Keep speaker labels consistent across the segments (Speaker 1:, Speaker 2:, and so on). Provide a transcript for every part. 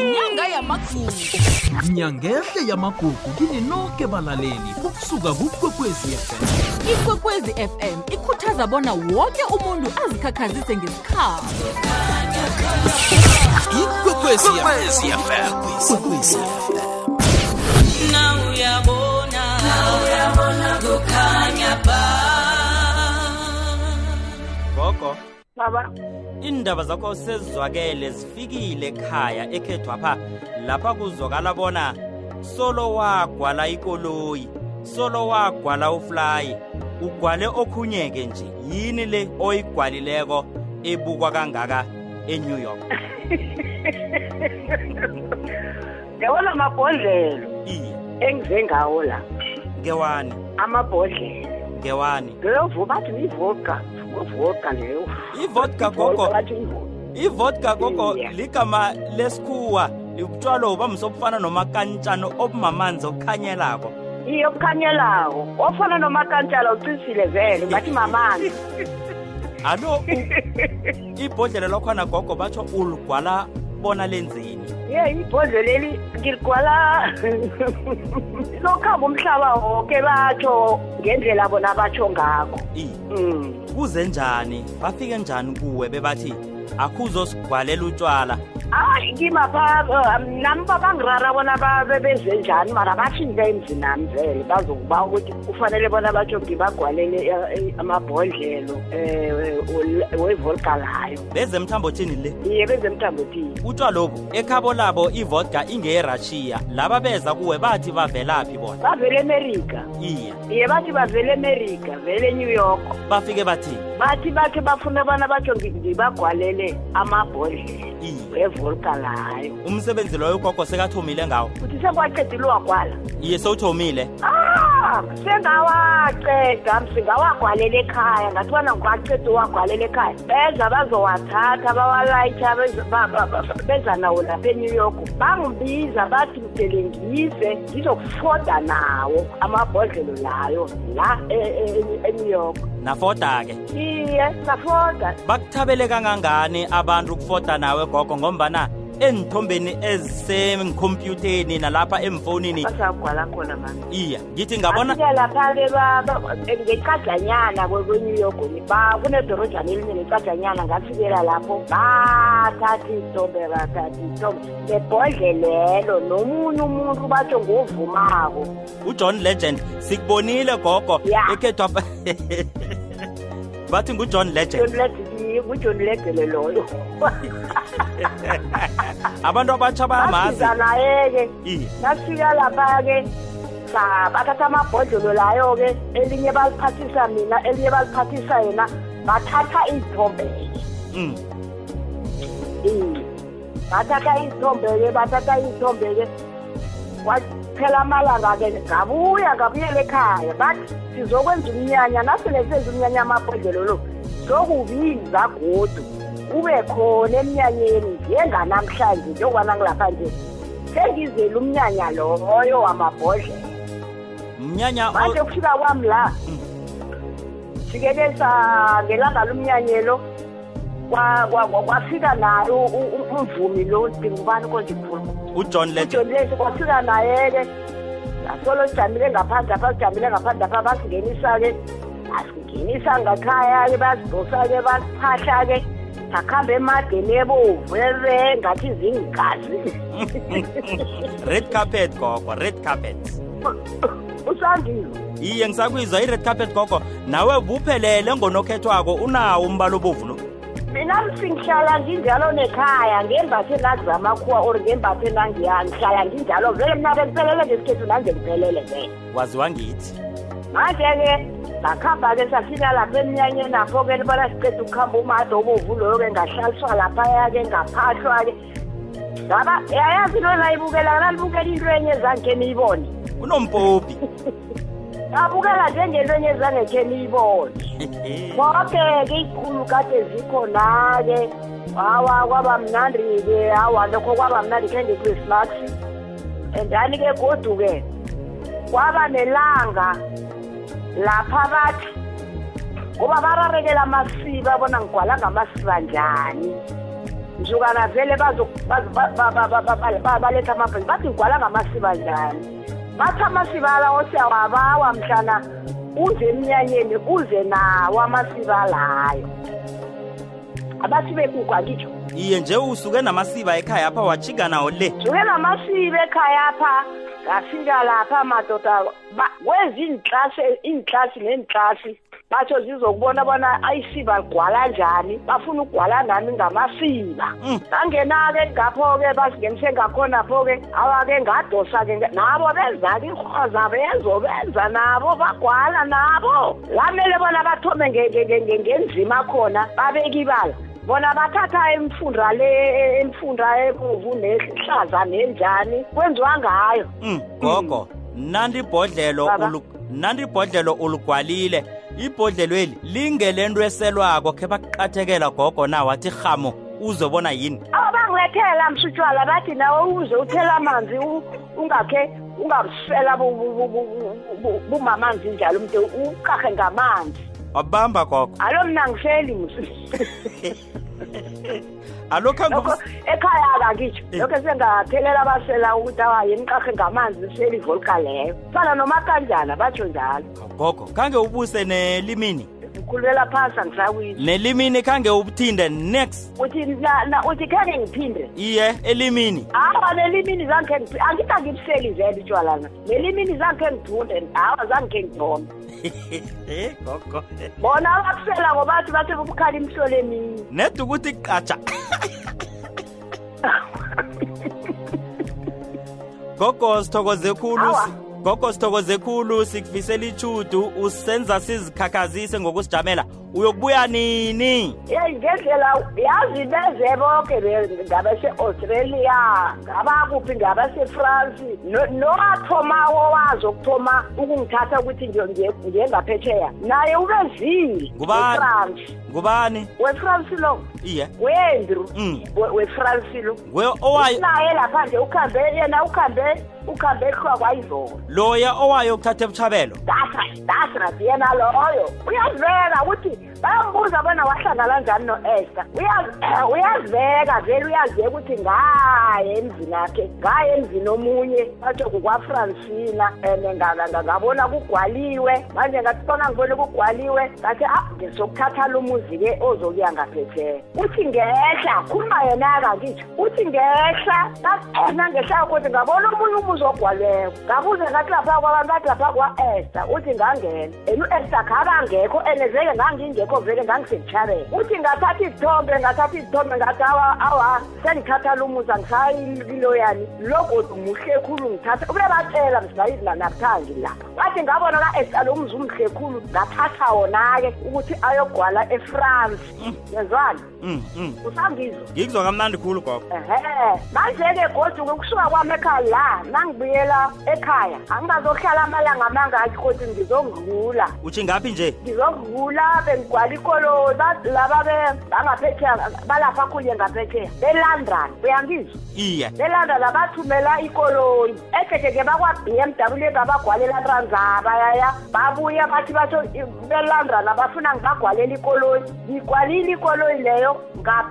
Speaker 1: inyanga yamagugu
Speaker 2: nyangehle yamagugu kini nonke balaleli ukusuka kukwekwezi fm
Speaker 1: ikwekwezi fm ikhuthaza bona woke umuntu azikhakhazise ngesikhabo
Speaker 2: ikwekwezi fm Ikwekwezi FM.
Speaker 3: gogo
Speaker 4: baba
Speaker 3: iindaba zakho sezizwakele zifikile ekhaya ekhethwapha lapha kuzwakala bona solo wagwala ikoloyi solo wagwala uflayi ugwale okhunyeke nje yini le oyigwalileko ebukwa kangaka enew york
Speaker 4: yabona amabhodlelo
Speaker 3: iye
Speaker 4: engize ngawo la
Speaker 3: ngewani
Speaker 4: amabhodlelo
Speaker 3: ngewani
Speaker 4: ngeyovuka bathi uyivoka uvoka leyo
Speaker 3: Ivodka gogo.
Speaker 4: bathi uyivoka
Speaker 3: ivodka gogo
Speaker 4: Iye.
Speaker 3: ligama lesikhuwa utshwalo obamisa obufana nomakantshano obumamanzi obukhanyelako
Speaker 4: iye obukhanyelako ofana nomakantala ucisile vele bathi mamanzi
Speaker 3: alo u- ibhodlelo lakhona gogo batsho uligwala bona lenzeni
Speaker 4: ye ibhodlo leli ngiligwala lokhamba umhlaba woke batsho ngendlela bona batsho ngakho
Speaker 3: Iye.
Speaker 4: um
Speaker 3: kuze njani bafike njani kuwe bebathi akhuzosigwalela utshwala
Speaker 4: hayi kimapha nami babangirara bona ba- bebenze njani mara bathini benzi nami vele bazokuba ukuthi kufanele bona batsho ngibagwalele eh, eh, amabhodlelo um wevolka layo
Speaker 3: beze emthambothini le
Speaker 4: iye bezemthambothini
Speaker 3: utshwalobu ekhabo labo ivodka ingeyerashiya laba beza kuwe bathi bavelaphi bona
Speaker 4: bavele emerika
Speaker 3: iye
Speaker 4: iye bathi bavele emerika vele enew york
Speaker 3: bafike bathi
Speaker 4: bathi bakhe bafuna bona batsho ngi- ngibagwalele amabhodlelo
Speaker 3: iye
Speaker 4: wevolka layo
Speaker 3: umsebenzi loyo gogo sekathomile ngawo
Speaker 4: uthi sekwacedile wagwala
Speaker 3: iye sewuthomile
Speaker 4: Ah, sengawaqeda msingawagwalela ekhaya ngathiwana ngiwaqeda uwagwalela ekhaya beza bazowathatha bawalayitha beza- ba- ba- ba- beza nawo lapha enew york bangibiza bathi mdelengise ngizokufoda nawo amabhodlelo layo la e- e- e- enew york
Speaker 3: nafoda-ke
Speaker 4: iye safoda
Speaker 3: bakuthabele kangangani abantu ukufoda nawe gogo ngombana enthombeni ezisengikhompyutheni nalapha emfonini
Speaker 4: basagwala khona mani
Speaker 3: iya ngithi ngabona
Speaker 4: Bafika lapha-ke ba- ba- ngeqajanyana kwe- kwe-new york ba kunedorojana elinye neqajanyana ngafikela lapho bathatha iy'thombe bathatha iy'thombe nebhodlelelo nomunye umuntu batsho ngovumako
Speaker 3: ujohn legend sikubonile gogo
Speaker 4: Ya.
Speaker 3: ekhethwa bathi ngujohn legend
Speaker 4: kujohn legele loyo
Speaker 3: abantu abatsha bayamazi
Speaker 4: asiza naye-ke
Speaker 3: iya
Speaker 4: nasifika lapha-ke sa- bathatha amabhodlelo layo-ke elinye baliphathisa mina elinye baliphathisa yena bathatha iy'thombe-ke
Speaker 3: mm.
Speaker 4: Eh, bathatha izithombe-ke bathatha izithombe-ke kwaphela amalanga-ke ngabuya ngabuyela ekhaya bathi sizokwenza umnyanya nasele senza umnyanya amabhodlelo lo sokubiza godu kube khona emnyanyeni njenganamhlanje njengobana ngilapha nje sengizele umnyanya loyo wamabhodlelo
Speaker 3: mnyanya o-
Speaker 4: manje kufika kwami la jikeleza ngelanga lomnyanyelo kwa- kwa- kwa- kwafika nayo u- u- umvumi lo ndingubani konje mvumi
Speaker 3: ujohn legend
Speaker 4: ujonlesi kwafika naye-ke ngasolo sijamile ngaphandle apha sijamile ngaphandle apha basingenisa-ke basingenisa ngakhaya-ke basidosa-ke basiphahla-ke sakuhambe emadeni ebovu ebe ngathi zingazi
Speaker 3: red carpet gogo red carpet
Speaker 4: usandile
Speaker 3: iye ngisakwizwa i-red carpet gogo nawe buphelele ngonokhethwako unawo umbala obovu lo
Speaker 4: mina singihlala nginjalo nekhaya ngembathe nazamakhuwa or ngembathe nangiya ngihlala nginjalo vele mina bengiphelele ngesikhethu nanje ngiphelele vele
Speaker 3: waziwa ngithi
Speaker 4: manje-ke sakuhamba-ke safika lapha emnyanyeni apho-ke libona siqeda ukuhamba umade obovu loyo-ke ngahlaliswa laphaya-ke ngaphahlwa-ke ngaba yayazi into nayibukela nalibukela into enye ezangikhe niyibone
Speaker 3: unompopi
Speaker 4: ngabukela njengento enye ezangekhe niyibone konke-ke ikhulu kade zikhona-ke hawa kwaba mnandi-ke hawa lokho kwaba mnandi khe nge-christmas andani-ke godu-ke kwaba nelanga lapha bathi ngoba bararekela amasiba bona ngigwala ngamasiba njani mzukana vele bazo- bazo- ba- ba- ba- ba- ba- ba- ba- baletha amabhasi bathi ngigwala ngamasiba njani bathi amasiba lawo siyawabawa mhlana uze emnyanyeni uze nawo amasiba layo abasibe kugwa ngitsho
Speaker 3: iye nje usuke namasiba ekhaya apha wajika nawo le
Speaker 4: Ngibe namasibe ekhaya apha ngafika lapha madoda kwezi inhlasi inhlasi nenhlasi batho zizokubona bona ayisiba ligwala njani bafuna ukugwala nami ngamasiba
Speaker 3: Mm.
Speaker 4: ngangena-ke ngapho-ke basingenise ngakhonapho-ke awa-ke ngadosa-ke nge- nabo beza-ke irhoza bezo benza nabo bagwala nabo lamele bona bathome nge- nge- nge- nge- ngenzima khona babeki bala bona bathatha imfunda le imfunda ebovu nehlaza nenjani kwenziwa ngayo
Speaker 3: Mm, gogo nandibhodlelo
Speaker 4: Baba.
Speaker 3: nandibhodlelo ulugwalile ibhodlelo eli lingelento eselwako khe bakuqathekela gogo na wathi rhamo uzobona yini
Speaker 4: abangilethela msutshwala bathi nawe uze uthela amanzi u- ungakhe ungabusela bu- bu- bu- bu- bu- bumamanzi njalo mntu uqarhe ngamanzi
Speaker 3: wabamba gogo
Speaker 4: alo mna ngiseli msi
Speaker 3: alokho
Speaker 4: lokho
Speaker 3: ngoku-
Speaker 4: ekhaya akakitsho
Speaker 3: Eh.
Speaker 4: lokho sengaphelela abasela ukuthi awayeni qarhe ngamanzi seli volka leyo fana nomakanjana batsho njalo
Speaker 3: gogo khange ubuse nelimini
Speaker 4: ngikhululela phasi angisakwini
Speaker 3: nelimini khange ubuthinde next
Speaker 4: uthi na- na- uthi khenge ngiphinde
Speaker 3: iye elimini
Speaker 4: hawa nelimini zangikhe ngiphi- angita ngibuseli vele utshwala na nelimini zangikhe ngidunde hawa zangikhe ngidonda
Speaker 3: Eh, gogo
Speaker 4: bona abakusela ngobathi bathi bubukhali imhlolo emini
Speaker 3: neda ukuthi qatsha gogo sithokoze khulu
Speaker 4: Awa.
Speaker 3: gogo sithokoze khulu sikufisela ichudu usenza sizikhakhazise ngokusijamela uyokubuya nini
Speaker 4: yeyi ngendlela yazi beze boke be- ngabase-australia ngabakuphi ngabasefrance nowathomako owazi ukuthoma ukungithatha ukuthi ngiyo- ngiye- ngiye ngaphetheya naye ubezile
Speaker 3: ngubani ngubani
Speaker 4: wefrance lo
Speaker 3: iye
Speaker 4: wendru
Speaker 3: Mm.
Speaker 4: we- wefrance lo
Speaker 3: nguye owayo
Speaker 4: naye lapha nje ukhambe yena ukhambe ukhambe ehlwa kwayizolo
Speaker 3: loya owayo ukuthatha ebutshabelo
Speaker 4: that's right, that's right, yena loyo uyaziveka ukuthi bayambuza bona wahlangana njani no-ester Uya- uyaziveka vele uyaziveka ukuthi ngaye emzini akhe ngaye emzini omunye batsho kukwafrancina and ngabona kugwaliwe manje ngathibona ngibone kugwaliwe ngathi a ngisokuthatha lo muzi-ke ozokuya ngaphethela uthi ngehla khuluma yena-ke akitsho uthi ngehla nangehla ukuthi ngabona omunye umuzi ogwaleko ngabuze ngathi lapha kwabantu bathi lapha kwa-ester uthi ngangena and u-ester khakangekho and vele ngangingekho vele ngangisebuthabela uthi ngathatha izithombe ngathatha izithombe ngathi awa awa sengithathale umuzi angisayikiloyani logodu muhle khulu ngithatha ube batshela msinayizilanabuthandi la bathi ngabona ka-ester lo mzi umhle khulu ngathatha wona-ke ukuthi ayogwala efrance yezwane
Speaker 3: Mm, mm.
Speaker 4: usangizwa
Speaker 3: ngikuzwa kamnandi khulu gogo
Speaker 4: ehe manje-ke godu ngokusuka kwami ekhaya la nangibuyela ekhaya angingazohlala amalanga amangaki kodwa ngizongidlula
Speaker 3: uthi ngaphi nje
Speaker 4: ngizokuvula bengigwala ikolo ba- laba be- bangaphetheya balapha khunye ngaphetheya belondon uyangizwa
Speaker 3: iye
Speaker 4: belondon abathumela ikoloyi ekeke-ke bakwa-b m w engabagwalela tranzaba yaya babuya bathi batho i- belondon abafuna ngibagwalela ikoloyi ngigwalile ikoloyi leyo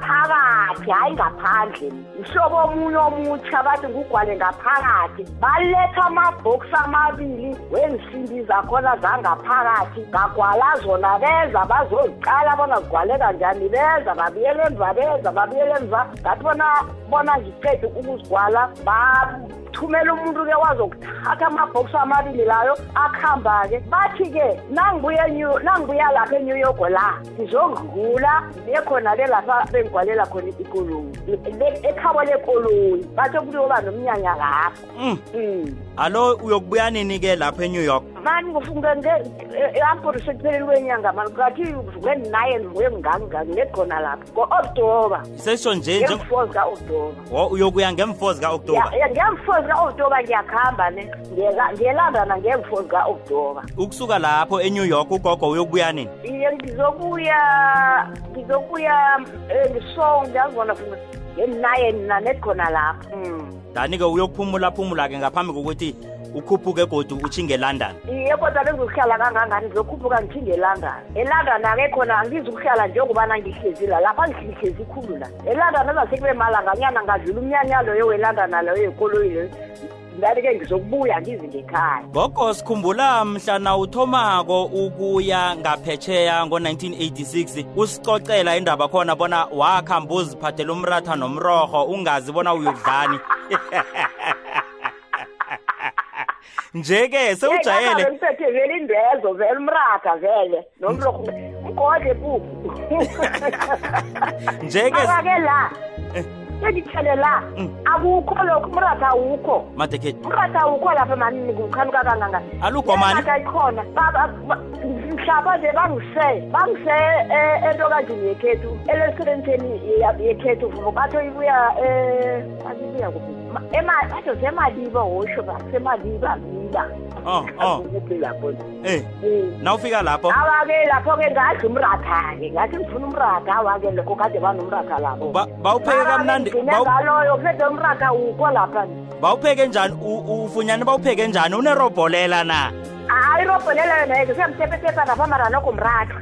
Speaker 4: ngaphakathi hhayi ngaphandle mhlobo omunye omutsha bathi ngugwale ngaphakathi baletha amabhokisi amabili wensimbi zakhona zangaphakathi ngagwala zona beza bazoziqala bona zigwaleka njani beza babuyela emva beza babuyela emva ngathi bona bona ngiqede ukuzigwala bathumela umuntu-ke wazokuthatha amabhokisi amabili layo akuhamba-ke bathi-ke nangibuye eNew- nangibuya lapha enew york la ngizokudlula ngiye khona-ke lapha bengigwalela khona ikoloyi Le- ekhabo lekoloyi batho kuyoba nomnyanya lapho
Speaker 3: Mm.
Speaker 4: um
Speaker 3: alo uyokubuya nini ke lapho enew york
Speaker 4: mani eh, ngifungeamporise kupheleli kwenyanga mani kathi ngeninayen ngengangani nekhona lapho ngo-oktoba
Speaker 3: sesho nje nje
Speaker 4: ngemfozi ka-oktoba
Speaker 3: wo uyokuya ngemfozi ka-oktoba
Speaker 4: ngemfozi ka-oktoba ngiyakuhamba ne Ngiya- ngiyelandana ngemfozi ka-oktoba
Speaker 3: ukusuka lapho enew york ugogo uyokubuya nini
Speaker 4: iye ngizokuya ngizokuya eh, ngisonke azibona funa ngeninayen nanekhona lapho Mm.
Speaker 3: dani-ke uyokuphumulaphumula-ke ngaphambi kokuthi ukhuphuke godu utshinge london
Speaker 4: iye kodwa bengizokuhlala kangangani ngizokhuphuka ngithingelangana elangana akekhona angizukuhlala njengobana ngihlezi la lapha ngihlezi khulu la elangana azasekube malanganyana ngadlula umnyanya loyo welangana loyo yekoloyi loyo ndabe-ke ngizokubuya ngizi ngekhaya
Speaker 3: gogo sikhumbula mhla nawuthomako ukuya ngaphetsheya ngo-1986 usicocela indaba khona bona wakhamba uziphathela umratha nomroho ungazi bona uyokudlani nje-ke sewujayele
Speaker 4: sewujayelebethe vele indwezo vele umrata vele nomloko ngodle buku
Speaker 3: nje-ke
Speaker 4: abake la sengithele la akukho lokhu umrata awukho
Speaker 3: madeketi
Speaker 4: umrata awukho lapha mani ngikukhanuka kangangani
Speaker 3: alugomani
Speaker 4: ikhona mhlaba nje bangise bangise eh, entokazini yekhethu elesirentseni yekhethu vumo batho ibuya um azibuya kuphi Ma- ema- batho semaliba hosho basemaliba liba
Speaker 3: Oh, oh.
Speaker 4: Azikuphi lapho nje.
Speaker 3: Eh,
Speaker 4: Mm.
Speaker 3: nawufika lapho
Speaker 4: awa-ke lapho-ke ngadla umratha-ke ngathi ngifuna umratha awa-ke lokho kade banomratha lapho
Speaker 3: Ba- bawupheke kamnandi
Speaker 4: Ngigcine
Speaker 3: bawu-
Speaker 4: ngaloyo kusethe umratha ukho lapha nje
Speaker 3: bawupheke njani U- ufunyane bawupheke njani unerobholela na
Speaker 4: hayi irobho lelo yona yeke siyamtepetepa lapha mara nokho mratha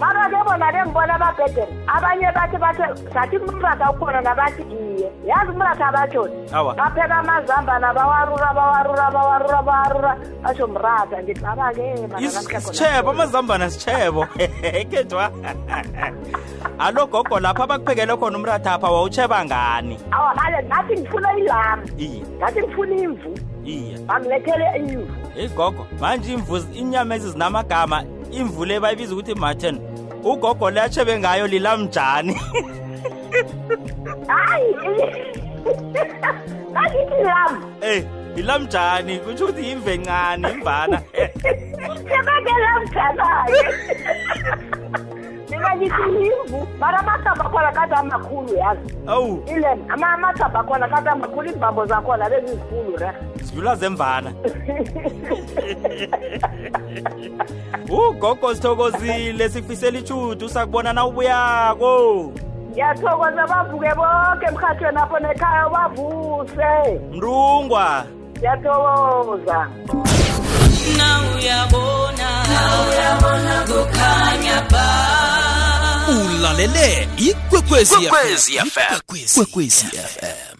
Speaker 4: mara ke bona bengibona babhedere abanye bathi bathi sathi umratha ukhona nabathi iye yazi umratha abatshoni
Speaker 3: Awa.
Speaker 4: bapheka amazambana bawarura bawarura bawarura bawarura basho mratha ngithi aba-ke mara namhla khona
Speaker 3: isitshebo amazambana sitshebo ekhethwa alo gogo lapha abakuphekele khona umrathapha wawutsheba ngani
Speaker 4: awa manje ngathi ngifuna ilami
Speaker 3: iye
Speaker 4: ngathi ngifuna imvu
Speaker 3: iye
Speaker 4: bangilethele imvu
Speaker 3: heyi gogo manje imvu inyama ezizinamagama imvu le bayibiza ukuthi martin ugogo le atshebe ngayo lilamjani
Speaker 4: hayi ngakithi ilami
Speaker 3: ey lilamjani kutsho ukuthi yimve encane imvana
Speaker 4: sebakelamjana-ke mina ngithi imvu mara amasamba akhona kade amakhulu yazi
Speaker 3: awu
Speaker 4: ilem ama- amasamba akhona kade amakhulu iimbambo zakhona bezizikulu re
Speaker 3: zidlula zemvana ugogo sithokozile sikufisela ichudu sakubona na ubuyako
Speaker 4: ngiyathokoza bavuke bonke emhathweni apho nekhaya bavuse
Speaker 3: mrungwa
Speaker 4: ngiyathokoza
Speaker 5: ulalele ikwekwezi fm ikwekwezi fm